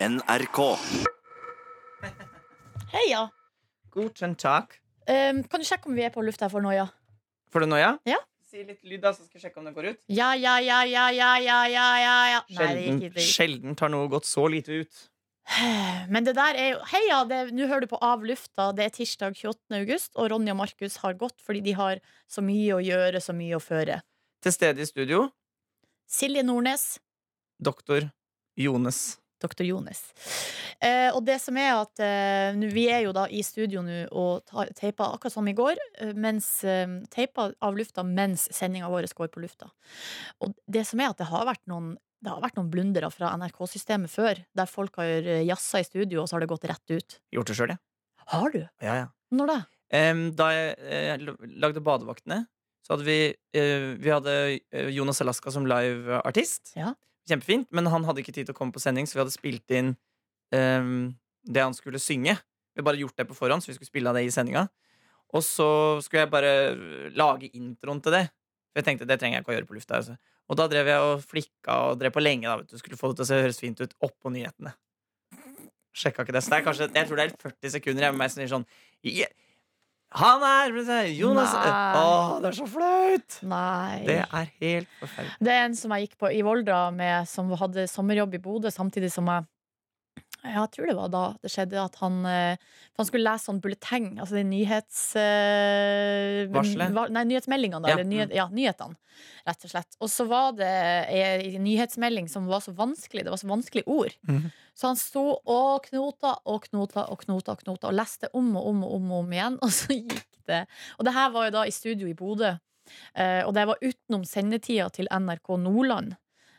NRK. Heia! Guten tak. Um, kan du sjekke om vi er på lufta for noia? Får du noia? Si litt lyd, da, så skal jeg sjekke om det går ut. Ja, ja, ja, ja, ja, ja, ja, ja, ja. Nei, det gikk Sjelden, ikke. det sjelden tar noe gått så lite ut. gikk. Men det der er jo Heia, det- nå hører du på Av lufta. Det er tirsdag 28. august, og Ronny og Markus har gått fordi de har så mye å gjøre, så mye å føre. Til stede i studio, Silje Nordnes. doktor Jones. Dr. Jones. Eh, og det som er at eh, nå- Vi er jo da i studio nå og tar- teipa akkurat som i går. eh, Mens, eh, teipa av lufta mens sendinga vår går på lufta. Og det som er at det har vært noen det har vært noen blundere fra NRK-systemet før, der folk har eh, jazza i studio, og så har det gått rett ut. Gjort det sjøl, jeg. Har du? Ja, ja. Når da? Em, da jeg eh, l- lagde Badevaktene, så hadde vi, eh, vi hadde eh, Jonas Alaska som liveartist. Ja. Kjempefint, men han hadde ikke tid til å komme på sending, så vi hadde spilt inn em, det han skulle synge. Vi hadde bare gjort det på forhånd, så vi skulle spille av det i sendinga. Og så skulle jeg bare eh, lage introen til det. For jeg tenkte det trenger jeg ikke å gjøre på lufta. Altså. Og da drev jeg og flikka og drev på lenge. da, vet du, Skulle få det til å se høres fint ut oppå nyhetene. Sjekka ikke det. Så det er kanskje, jeg tror det er 40 sekunder jeg med meg som sier sånn «Je- Han er Jonas Nei. Åh, det er så flaut! Nei. Det er helt forferdelig. Det er en som jeg gikk på i Voldra med, som hadde sommerjobb i Bodø, samtidig som jeg ja, jeg tror det var da det skjedde at han, eh, for han skulle lese sånn bulleteng, altså de nyhets... eh, Varselet? va- Nei, nyhetsmeldingene, da, Ja, eller nyhet, ja, nyhetene, rett og slett. Og så var det en nyhetsmelding som var så vanskelig, det var så vanskelige ord. Mhm. Så han sto og knota og knota og knota og knota, og leste om og om og om, og om igjen, og så gikk det. Og det her var jo da i studio i Bodø. Eh, og det var utenom sendetida til NRK Nordland.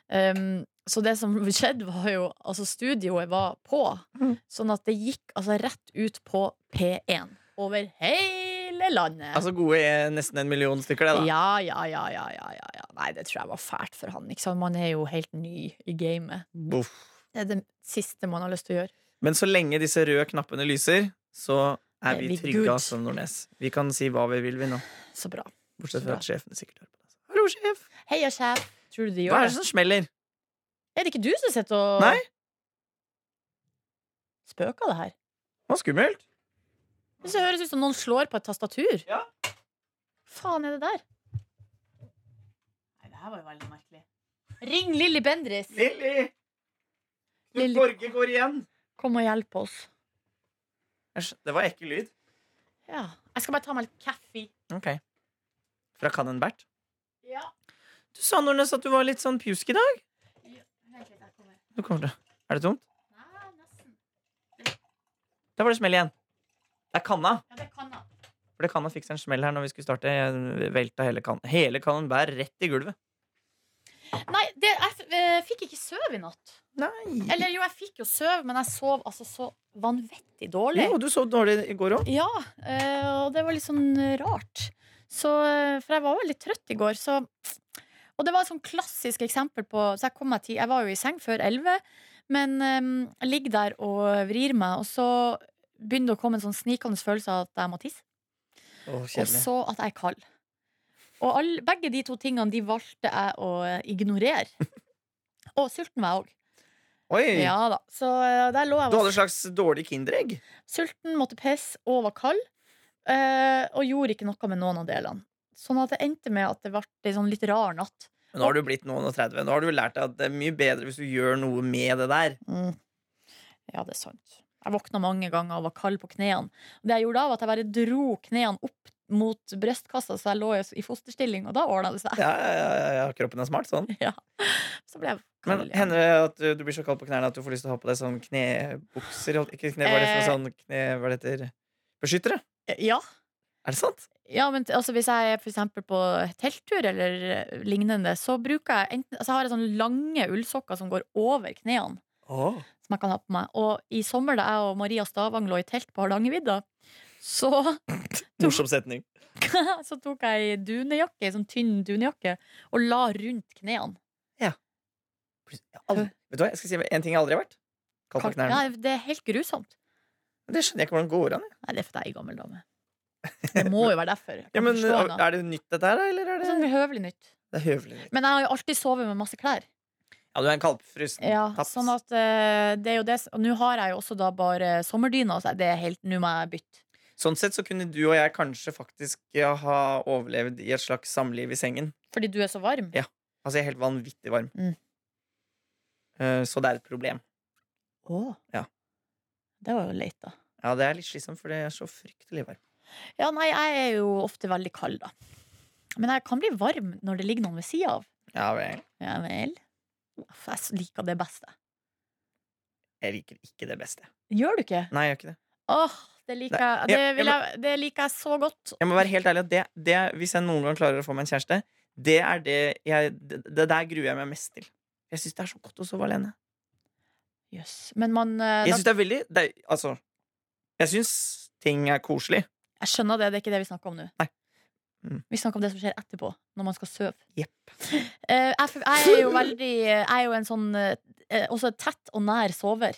Um, så det som skjedde, var jo Altså, studioet var på. Mm. Sånn at det gikk altså rett ut på P1 over hele landet. Altså gode eh, nesten en million stykker, det, da. ja, ja, ja, ja, ja, ja, ja. Nei, det tror jeg var fælt for han. Ikke sant? Man er jo helt ny i gamet. Boff. Det er det siste man har lyst til å gjøre. Men så lenge disse røde knappene lyser, så er Er vi vi trygge good? av som Nordnes. Vi kan si hva vi vil, vi nå. Så bra. Bortsett Så bra. fra at sjefen sikkert hører på. det. Hallo, sjef! Heia, sjef. Tror du de Hva gjør er det det? som smeller? Er det ikke du som sitter og Nei. spøker det her? Det var skummelt. Det ser- høres ut som noen slår på et tastatur. Ja. Faen er det der? Nei, det her var jo veldig merkelig. Ring Lilly Bendriss! Lilly! Lilly. Borge går igjen. Kom og hjelp oss. Æsj, det var ekkel lyd. Ja. Jeg skal bare ta meg litt kaffe. Ok. Fra Cannonbert. Ja. Du sa, Nordnes, at du var litt sånn pjusk i dag. Vent litt, jeg kommer. Du kommer til. Er det tomt? Nei, nesten. Der var det smell igjen. Det er kanna. Ja, det kan jeg. For det kanna fikk seg en smell her når vi skulle starte. Jeg velta hele kan Hele Cannonbert rett i gulvet. Nei, det, jeg f- eh, fikk ikke sove i natt. Nei. Eller jo, jeg fikk jo sove, men jeg sov altså så vanvittig dårlig. Jo, du sov dårlig i går òg. Ja, eh, og det var litt sånn rart. Så, eh, for jeg var veldig trøtt i går, så Og det var et sånn klassisk eksempel på Så jeg kom meg til Jeg var jo i seng før elleve, men eh, jeg ligger der og vrir meg, og så begynner det å komme en sånn snikende følelse av at jeg må tisse, Oh, og så at jeg er kald. Og all, begge de to tingene de valgte jeg å eh, ignorere. og sulten var jeg òg. Oi! Ja da. Så eh, der lå jeg og Du var hadde et slags dårlig kinderegg. Sulten, måtte pisse og var kald. eh, og gjorde ikke noe med noen av delene. Sånn at det endte med at det ble en sånn litt rar natt. Men nå har du blitt noen og 30. Nå har du lært deg at det er mye bedre hvis du gjør noe med det der. Ja, det er sant. Jeg våkna mange ganger og var kald på knærne. Og Det jeg gjorde da, var at jeg bare dro knærne opp mot brystkassa, så jeg lå i fosterstilling, og da ordna det seg. Ja, ja, ja, ja, Kroppen er smart sånn. Så ble jeg Men kald. igjen. hender det at du, du blir så kald på knærne at du får lyst til å ha på deg sånn knebukser? holdt- Ikke kne, hva er det for noe sånn kne... Hva er det heter? Beskyttere? Ja. Er det sant? Ja, men t- altså, hvis jeg er for eksempel på telttur eller eh, lignende, så bruker jeg enten altså, Jeg har sånne lange ullsokker som går over knærne. Åh. som jeg kan ha på meg. Og i sommer, da jeg og Maria Stavang lå i telt på Hardangervidda, så, Morsom setning. så tok jeg ei dunejakke, ei sånn tynn dunejakke, og la rundt knærne. Jeg har aldri- Vet du hva, jeg skal si en ting jeg aldri har vært. Kald på knærne. Ja, det er helt grusomt. Men Det skjønner jeg ikke hvordan det går an. jeg. Nei, det er fordi jeg er ei gammel dame. Det må jo være derfor. Jeg Altså, Ja, kan men, forstå henne. er det nytt, dette her, eller er Det det er sånn høvelig nytt. Det er høvelig nytt. Men jeg har jo alltid sovet med masse klær. Ja, du er en kaldfrusen Ja, taps. sånn at eh, det er jo det s- Og nå har jeg jo også da bare sommerdyna, så det er helt Nå må jeg bytte. Sånn sett så kunne du og jeg kanskje faktisk ja, ha overlevd i et slags samliv i sengen. Fordi du er så varm. Ja. Altså, jeg er helt vanvittig varm. Mm. Eh, Så det er et problem. Åh. Ja. Det var jo leit, da. Ja, det er litt slitsomt, for det er så fryktelig varm. Ja, nei, jeg er jo ofte veldig kald, da. Men jeg kan bli varm når det ligger noen ved sida av. Ja vel. Ja vel. Uff, Jeg liker det best, jeg. Jeg liker ikke det beste. Gjør du ikke? Nei, jeg gjør ikke det. Åh, det liker Nei, jeg. ja, Det, ja, vil jeg, det liker jeg så godt. Jeg må være helt ærlig at det, det, Hvis jeg noen gang klarer å få meg en kjæreste, det er det jeg Det, det der gruer jeg meg mest til. Jeg syns det er så godt å sove alene. Jøss. Men man eh, Jeg da, syns det er veldig det, er- Altså, jeg syns ting er koselig. Jeg skjønner det, det er ikke det vi snakker om nå. Nei. Mm. Vi snakker om det som skjer etterpå, når man skal sove. Jepp. Eh, jeg, f- jeg er jo veldig Jeg er jo en sånn eh, Også tett og nær sover.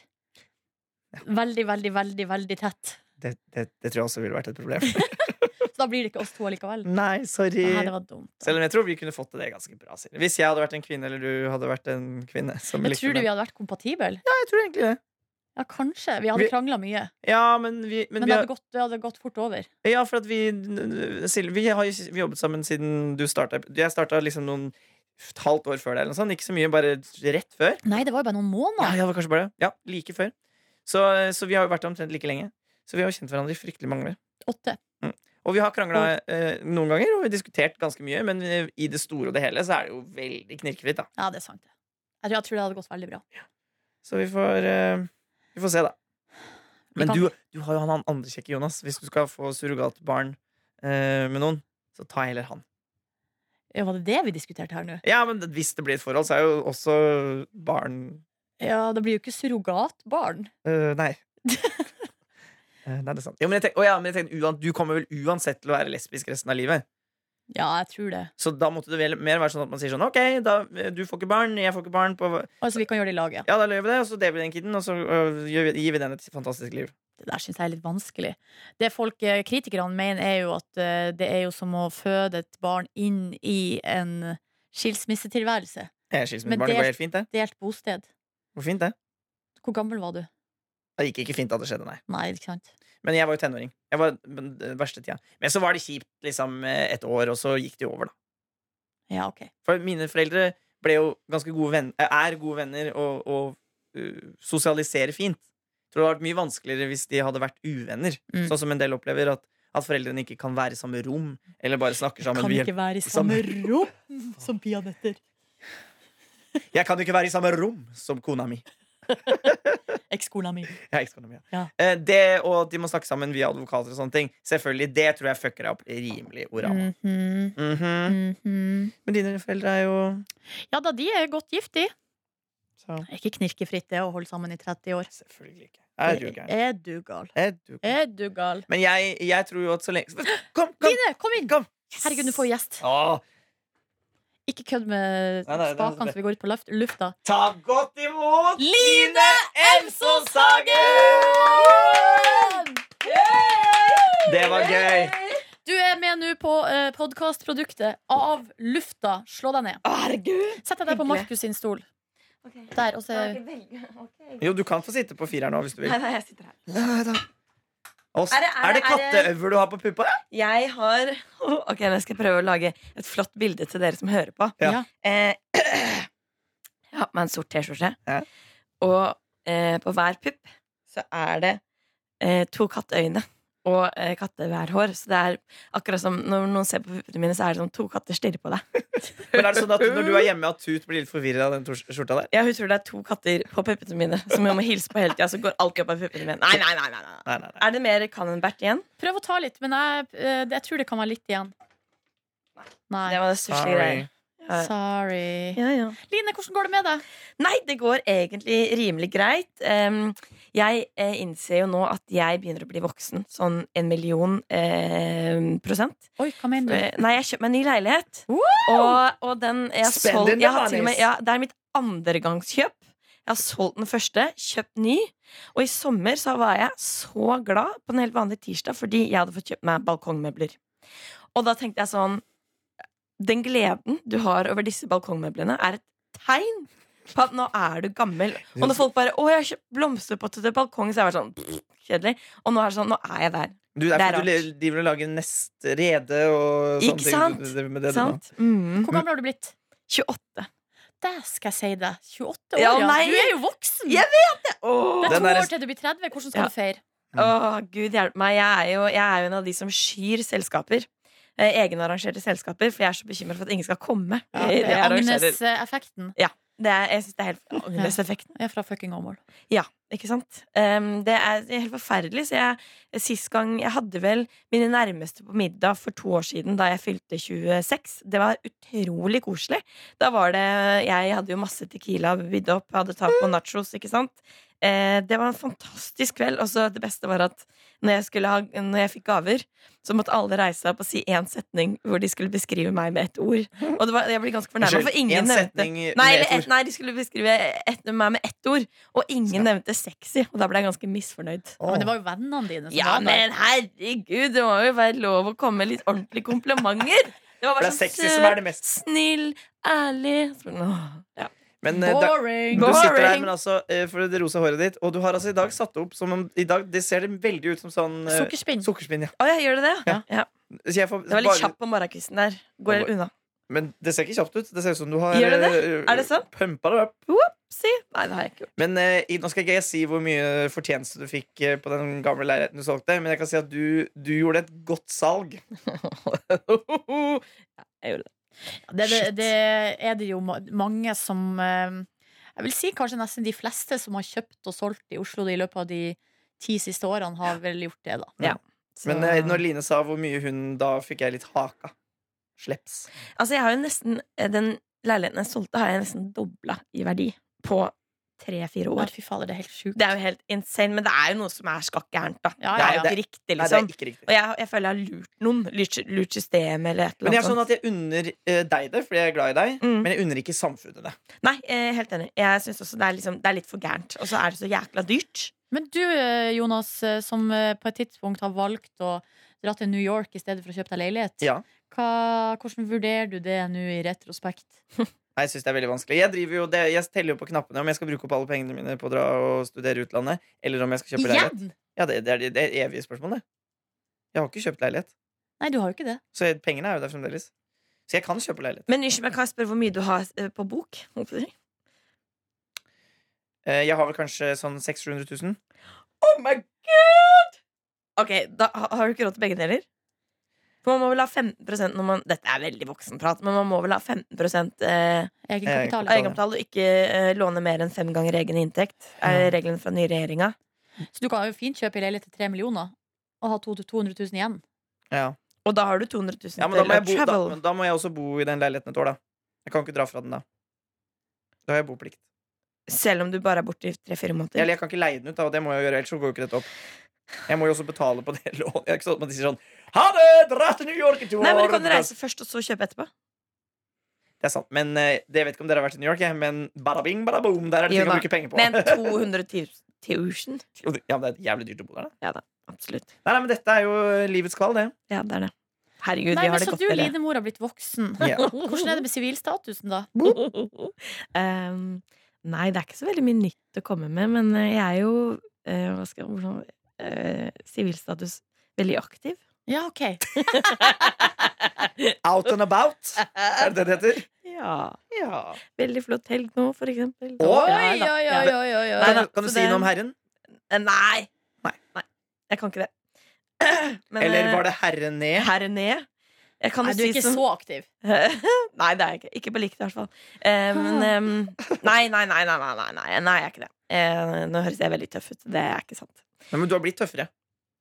Veldig, veldig, veldig, veldig tett. Det, det, det tror jeg også ville vært et problem. Så da blir det ikke oss to allikevel. Nei, sorry. Nei, det var dumt. da. Selv om jeg tror vi kunne fått til det ganske bra. Silje. Hvis jeg hadde vært en kvinne, eller du hadde vært en kvinne. Som Men likte tror du menn. vi hadde vært kompatible? Ja, jeg tror egentlig det. Ja, kanskje. Vi Vi- hadde krangla mye. Ja, men vi, men Men vi det har- hadde gått, det hadde gått fort over. Ja, for at vi Silje, vi har jo vi jobbet sammen siden du starta. Jeg starta liksom noen et halvt år før deg, eller noe sånt. Ikke så mye, bare rett før. Nei, det var jo bare noen Ja, måneder. ja, det var kanskje bare det. Ja, like før. Så, så vi har jo vært omtrent like lenge. Så vi har jo kjent hverandre i fryktelig mange år. Åtte. Og vi har krangla eh, noen ganger, og vi har diskutert ganske mye, men eh, i det store og det hele så er det jo veldig knirkefritt, da. Ja, det er sant. det. Jeg tror, jeg tror det hadde gått veldig bra. Så vi får, eh, vi får se, da. Vi Men kan- du, du har jo han andre kjekke Jonas. Hvis du skal få surrogatbarn eh, med noen, så ta heller han. Ja, var det det vi diskuterte her nå? Ja, men hvis det blir et forhold, så er jo også barn Ja, det blir jo ikke surrogatbarn. Øh, Nei. Eh, nei, det er sant. Jo, men jeg tenk, å ja, men jeg tenkte, uan, du kommer vel uansett til å være lesbisk resten av livet. Ja, jeg tror det. Så da måtte det vel mer være sånn at man sier sånn OK, da, eh, du får ikke barn, jeg får ikke barn. På, Altså, vi kan gjøre det i lag, ja. ja, da gjør vi det, og så deler vi den kiden, og så øh, gjør vi, gir vi den et fantastisk liv. Det der syns jeg er litt vanskelig. Det folk, eh, kritikerne mener, er jo at eh, det er jo som å føde et barn inn i en skilsmissetilværelse. Jeg er skilt med Men barn, det det- går helt fint, det. Delt bosted. Går fint, det. Hvor gammel var du? Det gikk ikke fint at det skjedde, nei. Nei, ikke sant? Men jeg var jo tenåring. Jeg var den verste tida. Men så var det kjipt liksom eh, et år, og så gikk det jo over, da. Ja, ok. For mine foreldre ble jo ganske gode venner, er gode venner og, og uh, sosialiserer fint. Jeg tror det hadde vært mye vanskeligere hvis de hadde vært uvenner. Mm. Sånn som en del opplever at, at foreldrene ikke kan være i samme rom, eller bare snakker sammen. Kan ved ikke være i samme samme- rom som peanøtter. hjelp. Jeg kan ikke være i samme rom som kona mi. Ekskona mi. Jeg er ekskona mi, ja. Ja. Eh, det og at de må snakke sammen via advokater og sånne ting, selvfølgelig, det tror jeg fucker deg opp rimelig oralt. Mhm, Mhm. mhm. Men dine foreldre er jo Ja da, de er godt gift, de. så. Ikke knirkefritt det å holde sammen i 30 år. Selvfølgelig ikke. Er du gæren? Er du gal? Er du gæren? Er du gal? Men jeg, jeg tror jo at så lenge Kom, kom! Line, kom inn! Kom. Herregud, du får gjest. Åh, Ikke kødd med Nei, nei, det er- spakene som vi går ut på luft- lufta. Ta godt imot Line Elsos Det var gøy. Du er med nå på eh, podkastproduktet Av lufta. Slå deg ned. Herregud! Sett deg der på Hyggelig. Markus sin stol. Ok. Der, og så Jeg kan ikke velge. Ok. Jo, du kan få sitte på fireren nå hvis du vil. Nei, nei, jeg sitter her. Nei, da. Og s- Er det- er er det det- er det- katteøver du har på puppa? Jeg har Ok, nå skal jeg prøve å lage et flott bilde til dere som hører på. Ja. Ja. Eh, jeg har på meg en sort T-skjorte, Ja. og eh, på hver pupp så er det eh, to katteøyne og eh, katteværhår. Så det er akkurat som når noen ser på puppene mine, så er det som to katter stirrer på deg. Men er det sånn at når du er hjemme at Tut blir litt forvirret av den tor- skjorta der? Ja, hun tror det er to katter på puppene mine som jeg må hilse på hele tida. Så går alltid opp av puppene mine. Nei, nei, nei, nei, nei. Nei, nei, nei. Er det mer Cannonbert igjen? Prøv å ta litt, men jeg, eh, det- jeg tror det kan være litt igjen. Nei. Det var det stusslige Sorry. greier. Ja. Sorry. Ja, ja. Line, hvordan går det med deg? Nei, det går egentlig rimelig greit. Em, jeg eh, innser jo nå at jeg begynner å bli voksen, sånn en million em, prosent. Oi, hva mener du? Eh, Nei, jeg kjøpte meg en ny leilighet. Og, og den jeg har Spend solgt in the jeg har til og monies. med, ja, Det er mitt andregangskjøp. Jeg har solgt den første, kjøpt ny. Og i sommer så var jeg så glad på en helt vanlig tirsdag fordi jeg hadde fått kjøpt meg balkongmøbler. Og da tenkte jeg sånn Den gleden du har over disse balkongmøblene, er et tegn på at nå er du gammel. Og når folk bare 'Å, jeg har kjøpt blomsterpotte til balkongen', så er jeg bare sånn pff, Kjedelig. Og nå er det sånn Nå er jeg der. Du, det er Det er fordi du le- driver og lager nest rede og Ikke sånne ting. sant? Du- du driver med det du nå. Sant? Mm. Hvor gammel har du blitt? 28. Det skal jeg si deg. 28 år, ja. Ja, nei. Du er jo voksen! Jeg Det Åh, er Den to er- år til du blir 30. Hvordan skal Ja. du feire? Åh, gud hjelpe meg. Jeg er, jo, jeg er jo en av de som skyr selskaper. Eh, egenarrangerte selskaper, for jeg er så bekymra for at ingen skal komme. Ja, i det jeg arrangerer. Eh, Agnes-effekten. Det er, jeg synes det er helt Agnes-effekten. Jeg er fra fucking Åmål. Ja, ikke sant? Um, det er helt forferdelig. Så jeg, sist gang jeg hadde vel mine nærmeste på middag for to år siden, da jeg fylte 26. Det var utrolig koselig. Da var det Jeg hadde jo masse Tequila bydd opp, hadde taco nachos, ikke sant? Eh, det var en fantastisk kveld. Og så det beste var at når jeg, skulle ha, når jeg fikk gaver, så måtte alle reise seg opp og si én setning hvor de skulle beskrive meg med ett ord. Og det var, jeg ble ganske fornærma, for en ingen nevnte setning med Nei, eller et et, ord. nei, de skulle beskrive et, meg med ett ord, og ingen Ja. nevnte sexy. Og da ble jeg ganske misfornøyd. Åh. Men det var jo vennene dine som Ja, var der. men herregud, det må jo være lov å komme med litt ordentlige komplimenter! Det var For det er bare sånn sexy som er søt, det mest. snill, ærlig Så- sånn, Åh, ja. Men, eh, da, Boring! du sitter der Boring. men altså, eh, for det rosa håret ditt, og du har altså i dag satt opp som om i dag, Det ser det veldig ut som sånn eh, Sukkerspinn. Sukkerspinn, ja. Å, ja, gjør det det? Ja. Ja. Så jeg får, Det var litt kjapp på morgenkvisten der. Går litt unna. Men det ser ikke kjapt ut. Det ser ut som du har Gjør det eh, Er det sant? pumpa det opp. Si. Nei, det har jeg ikke gjort. Men eh, i- Nå skal ikke jeg si hvor mye fortjeneste du fikk eh, på den gamle leiligheten du solgte, men jeg kan si at du, du gjorde et godt salg. Det, det, Shit. det er det jo ma- mange som eh, Jeg vil si kanskje nesten de fleste som har kjøpt og solgt i Oslo i løpet av de ti siste årene, har vel gjort det, da. Så- Men eh, når Line sa hvor mye hun da fikk jeg litt haka. Sleps. Altså, jeg har jo nesten Den leiligheten jeg solgte, har jeg nesten dobla i verdi på tre-fire Ja, år. fy fader, det er helt sjukt. Det er jo helt insane, men det er jo noe som er skakk gærent, da. Ja, Det ja, er jo ja. ikke riktig, Nei, det liksom. er ikke riktig. Og jeg, jeg føler jeg har lurt noen. Lurt, lurt systemet eller et Men jeg er eller annet. sånn at jeg unner eh, deg det, fordi jeg er glad i deg. Mm. Men jeg unner ikke samfunnet det. sånt. Nei, eh, helt enig. Jeg syns også det er, liksom, det er litt for gærent. Og så er det så jækla dyrt. Men du, eh, Jonas, eh, som eh, på et tidspunkt har valgt å dra til New York i stedet for å kjøpe deg leilighet. Ja. Hva, hvordan vurderer du det nå i retrospekt? Nei, Jeg synes det er veldig vanskelig Jeg, driver jo det, jeg teller jo på knappene om jeg skal bruke opp alle pengene mine på å dra og studere i utlandet. Eller om jeg skal kjøpe leilighet. Igjen? Ja, det, det, er, det er evige spørsmål, det. Jeg har ikke kjøpt leilighet. Nei, du har jo ikke det. Så jeg, pengene er jo der fremdeles. Så jeg kan kjøpe leilighet. Men unnskyld meg, kan jeg spørre hvor mye du har eh, på bok? Holdt jeg på å si. Eh, Jeg har vel kanskje sånn 600 000-700 000. Oh my god! Ok, da ha- har du ikke råd til begge deler? For man må vel ha 15 når man Dette er veldig voksenprat, men man må vel ha 15 eh, Egenkapital. av egenkapital og ikke eh, låne mer enn fem ganger egen inntekt. Er Ja. regelen fra den nye regjeringa. Så du kan jo fint kjøpe en leilighet til 3 millioner og ha to- 200 000 igjen. Ja. Og da har du 200 000 ja, men da må, jeg bo, til da, travel. men da må jeg også bo i den leiligheten et år, da. Jeg kan ikke dra fra den da. Da har jeg boplikt. Selv om du bare er borte i tre-fire måneder. Eller jeg kan ikke leie den ut, da, og det må jeg jo gjøre, ellers så går jo ikke dette opp. Jeg må jo også betale på det lånet. Det er ikke sånn at man sier sånn Ha det! Dra til New York i to Nei, men år!» Du kan reise først, og så kjøpe etterpå. Det er sant. Men eh, det jeg vet ikke om dere har vært i New York, jeg, men bada bing, bada boom, der er det Jo ting å da. bruke penger på. Men 210 000? Jo, det- ja, men det er jævlig dyrt å bo der, da. Absolutt. Nei, nei, men dette er jo livets kval, det. Ja, det er det. Herregud, Nei, vi men har det Så godt, du, dere. Line mor, har blitt voksen. Ja. Hvordan er det med sivilstatusen, da? Ehm, nei, det er ikke så veldig mye nytt å komme med, men eh, jeg er jo eh, hva skal, hvordan, eh, sivilstatus veldig aktiv. Ja, ok Out and about, er det det det heter? Ja. Ja. Veldig flott helg nå, for eksempel. Oi, Ja, Oi, da. oi, Ja. oi, oi, oi, Nei oi. da, Kan du så si det- noe om herren? Eh, Nei. Nei. Nei. Jeg kan ikke det. Men, eh, Eller var det herre ned? her nede? Jeg kan Nei, jo du er si ikke som- så aktiv. nei, det er jeg ikke. Ikke på likt, i hvert fall. Eh, men ehm, nei, nei, nei, nei, nei, nei, nei, nei, jeg er ikke det. Eh, nå høres jeg veldig tøff ut. Det er ikke sant. Nei, men du har blitt tøffere.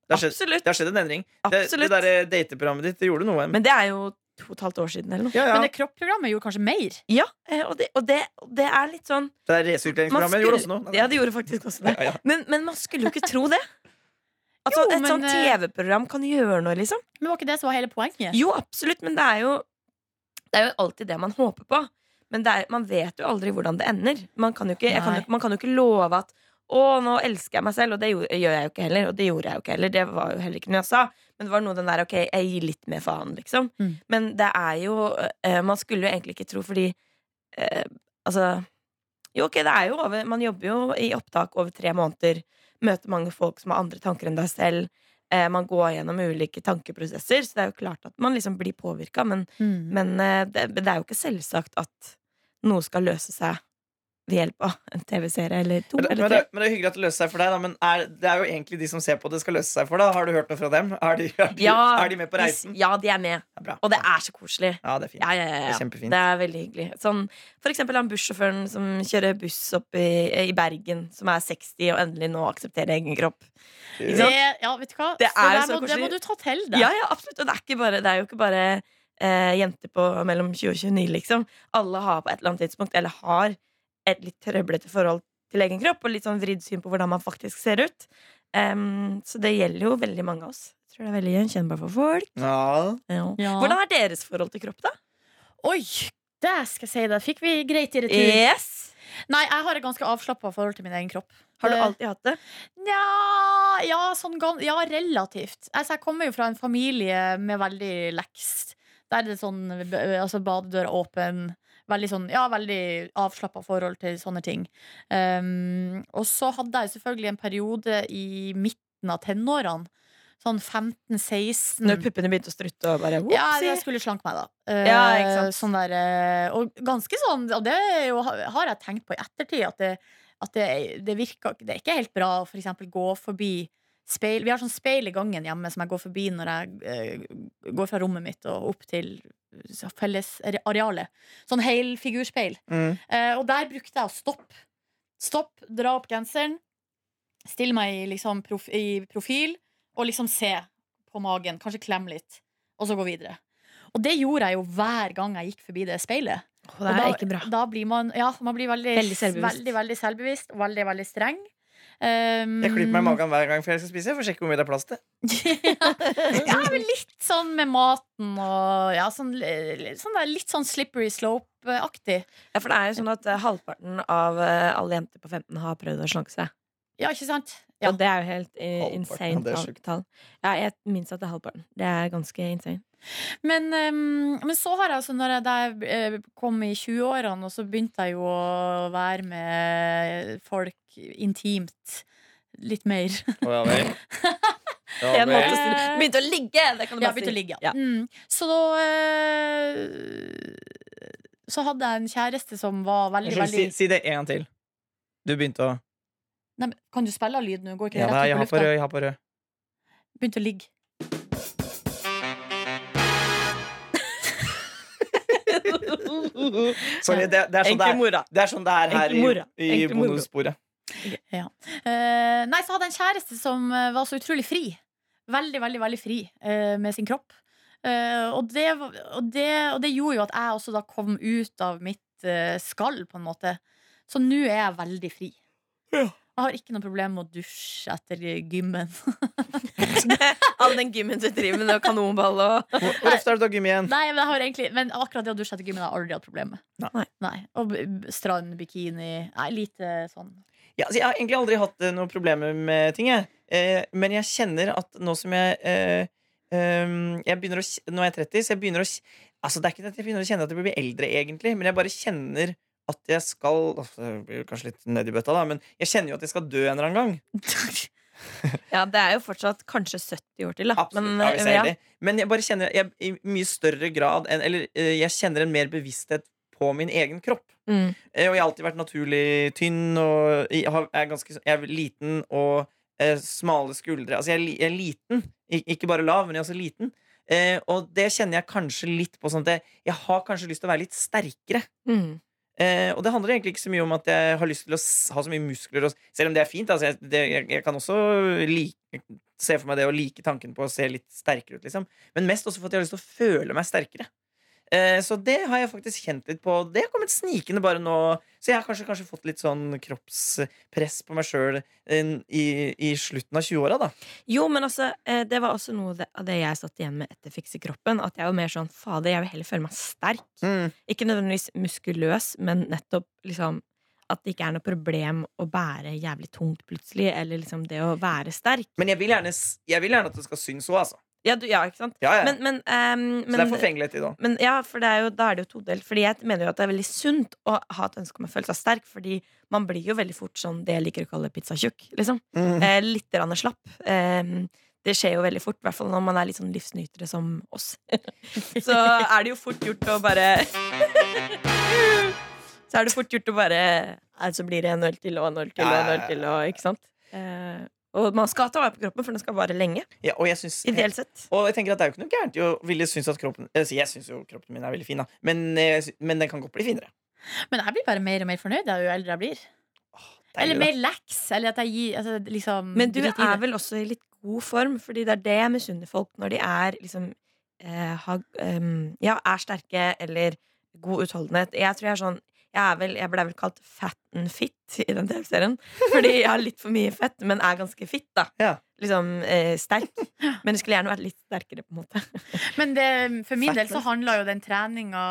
Det har skjedd, Absolutt. det har skjedd en endring. Det, det absolutt. derre dateprogrammet ditt, det gjorde noe. Men det er jo to og et halvt år siden eller noe. ja, ja. Men det kroppprogrammet gjorde kanskje mer. Ja, eh, og, det, og det, det er litt sånn det der man resirkuleringsprogrammet gjorde også skulle, noe. Ja, det gjorde faktisk også det. Ja, ja. Men, men man skulle jo ikke tro det. At sånn- Jo, et men, sånt eh, TV-program kan gjøre noe, liksom. Men var ikke det som var hele poenget? Jo, absolutt, men det er jo Det er jo alltid det man håper på. Men det er, man vet jo aldri hvordan det ender. Man kan jo ikke, jeg kan, Nei. jo ikke- man kan jo ikke love at 'Å, nå elsker jeg meg selv', og det gjorde, gjør jeg jo ikke heller. Og det gjorde jeg jo ikke heller. Det var jo heller ikke noe jeg sa. Men det var noe den der 'ok, jeg gir litt mer faen', liksom. Mm. Men det er jo eh, Man skulle jo egentlig ikke tro, fordi eh, Altså Jo, ok, det er jo over Man jobber jo i opptak over tre måneder. Møter mange folk som har andre tanker enn deg selv. Eh, man går gjennom ulike tankeprosesser, så det er jo klart at man liksom blir påvirka. Men, Mm. men eh, det, det er jo ikke selvsagt at noe skal løse seg ved hjelp av en TV-serie eller to Men, det- eller men, tre. det, men det er hyggelig at det løser seg for deg, da. Men er, det er jo egentlig de som ser på det, skal løse seg for deg. Har du hørt noe fra dem? Er de, er de, er de med på hvis- reisen? Ja, de er med. Ja, bra. Og det er så koselig. Ja, det er fint. Ja, ja, ja, Det ja. er kjempefint. Det er veldig hyggelig. Sånn, for eksempel han bussjåføren som kjører buss opp i, i Bergen, som er 60 og endelig nå aksepterer egen kropp. Ikke Det, sant? ja, vet du hva? Det Det, er jo der så må, det må koselig. du ta til deg. Ja, ja, absolutt. Og det er, ikke bare, det er jo ikke bare eh, jenter på mellom 20 og 29, liksom. Alle har på et eller annet tidspunkt, eller har, et litt trøblete forhold til egen kropp, og litt sånn vridd syn på hvordan man faktisk ser ut. Em, så det gjelder jo veldig mange av oss. Jeg tror det er veldig gjenkjennbart for folk. Ja. Ja. Ja. Hvordan er deres forhold til kropp, da? Oi, det skal jeg si deg. Fikk vi greit i retur? Yes! Nei, jeg har et ganske avslappa forhold til min egen kropp. Har du Eh, alltid hatt det? Nja, ja, sånn gan ja, relativt. Altså, jeg kommer jo fra en familie med veldig lekst. Der er det sånn b- altså, badedøra åpen. Veldig sånn, ja, veldig avslappa forhold til sånne ting. Um, og så hadde jeg selvfølgelig en periode i midten av tenårene. Sånn 15-16. Når puppene begynte å strutte og bare mm. Ja, «Whoopsie». jeg skulle slanke meg, da. Eh, Ja, ikke sant. Sånn der, eh, og ganske sånn, og det er jo, har jeg tenkt på i ettertid, at det, at det, det virker Det er ikke helt bra å for eksempel gå forbi speil. Vi har sånn speil i gangen hjemme som jeg går forbi når jeg eh, går fra rommet mitt og opp til fellesarealet. Sånn helfigurspeil. Mm. Eh, og der brukte jeg å stoppe. Stopp, dra opp genseren, stille meg i, liksom, prof i profil og liksom se på magen. Kanskje klemme litt, og så gå videre. Og det gjorde jeg jo hver gang jeg gikk forbi det speilet. Og det og er da, ikke bra. Da blir man, ja, man blir veldig, Veldig selvbevisst. veldig, veldig selvbevisst og veldig, veldig streng. Um, Jeg klyper meg i magen hver gang før jeg skal spise. For å sjekke hvor mye det er plass til. ja, men litt sånn med maten og ja, sånn, li- sånn der, Litt sånn slippery slope-aktig. Ja, for det er jo sånn at eh, halvparten av eh, alle jenter på 15 har prøvd å slanke seg. Ja, ikke sant? Ja. Og det er jo helt eh, Halvparten, ja, insane det er tall. sjukt. tall. Ja, jeg minnes at det er halvparten. Det er ganske insane. Men, ehm, men så har jeg altså når jeg, da jeg eh, kom i 20-årene, og så begynte jeg jo å være med folk intimt litt mer. Oh, ja, vel. En vel. måte å stille- Begynte å ligge! Det kan du Ja, bare begynte å si. ligge, ja. Ja. Mm. Så da eh, Så hadde jeg en kjæreste som var veldig, Unnskyld, veldig si, si det en gang til. Du begynte å Nei, men Kan du spille av lyd nå? Går ikke ja, det nei, Jeg rett har ut på på lufta? rød. Jeg har på rød. Begynte å ligge. Sorry, det, det, er sånn det, Enkel er, mora. det er sånn det er her Enkel mora. i, i Enkel mora. bonussporet. Eh, nei, så hadde jeg en kjæreste som eh, var så utrolig fri. Veldig, veldig, veldig fri eh, med sin kropp. Eh, og, det, var- og, det, og det gjorde jo at jeg også da kom ut av mitt eh, skall, på en måte. Så nå er jeg veldig fri. Ja. Jeg har ikke noe problem med å dusje etter gymmen. All den gymmen du driver med, og kanonball og Hvor, hvor ofte er det du har gym igjen? Nei, men, jeg har egentlig, men akkurat det å dusje etter gymmen har jeg aldri hatt problem med. Nei. Og b- b- strand, bikini Nei, lite sånn. Ja, altså, jeg har egentlig aldri hatt eh, noen problemer med ting, jeg. Eh, men jeg kjenner at nå som jeg eh, ehm, jeg begynner å, kj- Nå er jeg 30, så jeg begynner å kj- Altså, det er ikke det at jeg begynner å kjenne at jeg blir eldre, egentlig, men jeg bare kjenner at jeg skal altså, Jeg blir kanskje litt nedi bøtta, da, men jeg kjenner jo at jeg skal dø en eller annen gang. Ja, det er jo fortsatt kanskje 70 år til, da. Absolutt, Men, ja, hvis jeg er ja. heldig. Men jeg bare kjenner jeg, i mye større grad enn, Eller eh, jeg kjenner en mer bevissthet på min egen kropp. Mm. Eh, Og jeg har alltid vært naturlig tynn og jeg har- er ganske sånn- jeg er liten og eh, smale skuldre. Altså, jeg er, li- jeg er liten. Ik ikke bare lav, men jeg er også liten. Eh, og det kjenner jeg kanskje litt på. Sånn at jeg, jeg har kanskje lyst til å være litt sterkere. Mm. Eh, og det handler egentlig ikke så mye om at jeg har lyst til å s- ha så mye muskler. Og, s- selv om det er fint. Altså, jeg, det, jeg, jeg kan også like, se for meg det å like tanken på å se litt sterkere ut. Liksom. Men mest også for at jeg har lyst til å føle meg sterkere. Eh, så det har jeg faktisk kjent litt på. Det har kommet snikende bare nå. Så jeg har kanskje, kanskje fått litt sånn kroppspress på meg sjøl i, i slutten av 20-åra, da. Jo, men altså, eh, det var også noe av det- av det jeg satt igjen med etter Fikse kroppen. At jeg var mer sånn fader, jeg vil heller føle meg sterk. Mm. Ikke nødvendigvis muskuløs, men nettopp liksom at det ikke er noe problem å bære jævlig tungt plutselig, eller liksom det å være sterk. Men jeg vil, gjerne, s- jeg vil gjerne at det skal synes òg, altså. Ja, du, ja ikke sant? Ja, ja. Men, men, ehm, så men det er forfengelighet i det òg. Men ja, for det er jo, da er det jo todelt. Fordi jeg mener jo at det er veldig sunt å ha et ønske om å føle seg sterk, fordi man blir jo veldig fort sånn det jeg liker å kalle pizzatjukk. Liksom. Mm. Eh, litt grann slapp. Eh, det skjer jo veldig fort, i hvert fall når man er litt sånn livsnytere som oss. Så er det jo fort gjort å bare Så er det fort gjort å bare Nei, så blir det en øl til og en øl til og en øl til og Ikke sant? Eh, og man skal ta vare på kroppen, for den skal vare lenge. Ja, og jeg synes, Ideelt sett. Og jeg tenker at det er jo ikke noe gærent i å ville synes at kroppen altså, Jeg synes jo kroppen min er veldig fin, da. Men, eh, sy- men den kan godt bli finere. Men jeg blir bare mer og mer fornøyd da, jo eldre jeg blir. Deilig, eller da. mer leks. Eller at jeg gir altså, liksom, Men du drit i det. er vel også i litt god form, fordi det er det jeg misunner folk når de er liksom eh, har, ehm, Ja, er sterke eller god utholdenhet. Jeg tror jeg er sånn jeg, er vel, jeg ble vel kalt fat and fit i den TV-serien. Fordi jeg har litt for mye fett, men er ganske fit, da. Ja. Liksom eh, sterk. Men jeg skulle gjerne vært litt sterkere, på en måte. Men det, for min Fett, del så handler jo den treninga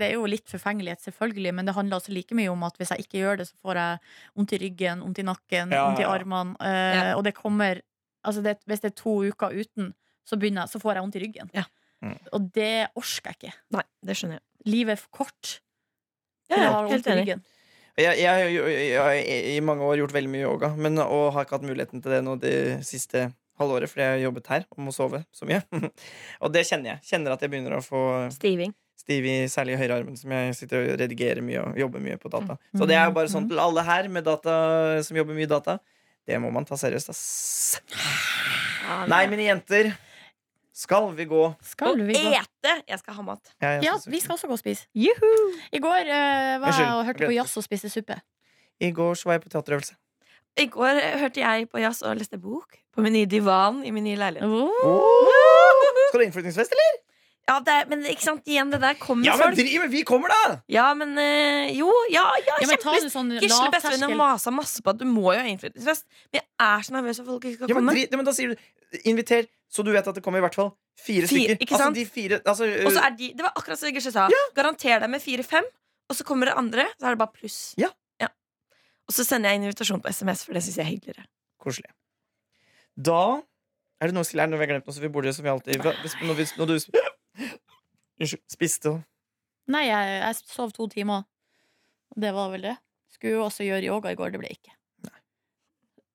Det er jo litt forfengelighet, selvfølgelig, men det handler også like mye om at hvis jeg ikke gjør det, så får jeg vondt i ryggen, vondt i nakken, Ja, vondt i ja, ja. armene. eh, Og det kommer Altså, det, hvis det er to uker uten, så, begynner, jeg- så får jeg vondt i ryggen. Ja. Mm. Og det orker jeg ikke. Nei, det skjønner jeg. Livet er for kort. Ja, til å ja, ha vondt helt i enig. ryggen. Jeg, jeg, har jo- jeg, har i mange år gjort veldig mye yoga, men, og har ikke hatt muligheten til det nå det siste halvåret, fordi jeg har jobbet her og må sove så mye. og det kjenner jeg. Kjenner at jeg begynner å få Stiving. stiv i særlig høyrearmen, som jeg sitter og redigerer mye og jobber mye på data. Mm. Så det er jo bare sånn til alle her med data, som jobber mye data. Det må man ta seriøst, ass. Ja, Nei, mine jenter. Skal vi gå? Skal vi gå? Ete! Jeg skal ha mat. Ja, jeg Ja, synes- vi skal også gå og spise. I går eh, var jeg Unnskyld. og hørte på jazz og spiste suppe. I går så var jeg på teaterøvelse. I går eh, hørte jeg på jazz og leste bok på min nye divan i min nye leilighet. Skal du ha innflyttingsfest, eller? Ja, det er, men ikke sant, igjen, det der kommer Ja, men folk. driv med! Vi kommer, da! Ja, men eh, Jo, ja, ja, Ja, men ta kjempelyst. det sånn Gisle bestevenn lavterskel. har masa masse på at du må jo ha innflytelsesfest. Men jeg er så nervøs at folk ikke skal Ja, men, komme. dri, ja, men da sier du Inviter, så du vet at det kommer i hvert fall fire, Fire, stykker. ikke Altså, sant? de fire, altså, Og så er de, Det var akkurat som Gisle sa. Garanter deg med fire-fem, og så kommer det andre. Så er det bare pluss. Ja. Og så sender jeg invitasjon på SMS, for det syns jeg er hyggeligere. øh, Koselig. Da Er det noe, er det noe vi har glemt nå, så vi bor der som vi alltid hvis, når, vi, når du Unnskyld. Spiste og Nei, jeg, jeg sov to timer. Og det var vel det. Skulle jo også gjøre yoga i går, det ble ikke.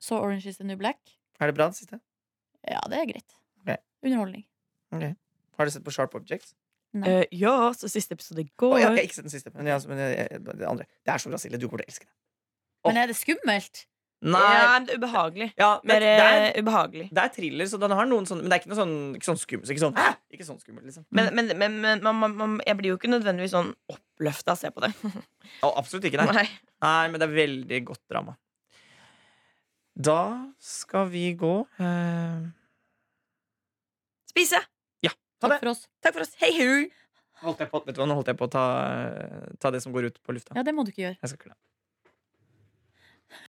Så Orange is the New Black. Er det bra, det siste? Ja, det er greit. Ok. Underholdning. Har du sett på Sharp Objects? Nei. Eh, ja, så siste episode i Å, går. jeg har ikke sett den siste, men, jeg, men jeg, jeg, det andre. Det er så bra, Silje. Du kommer til å elske det. Men er det skummelt? Ja, men det er ubehagelig. Ja, men Mer det er, eh, ubehagelig. det er thriller, så den har noen sånne Men det er ikke noe sånn, ikke sånn skummelt. Ikke sånn, «Hæ?» ikke sånn skummelt, liksom. Men, men, men, men man, man, man, jeg blir jo ikke nødvendigvis sånn oppløfta av å se på det. Å, absolutt ikke, nei. Nei. Nei, men det er veldig godt drama. Da skal vi gå eh, Spise! Ta Takk det! for oss. Takk for oss. Hei hu! Holdt jeg på, vet du hva, nå holdt jeg på å eh, ta, ta det som går ut på lufta. Ja, det må du ikke gjøre. Jeg skal klare det.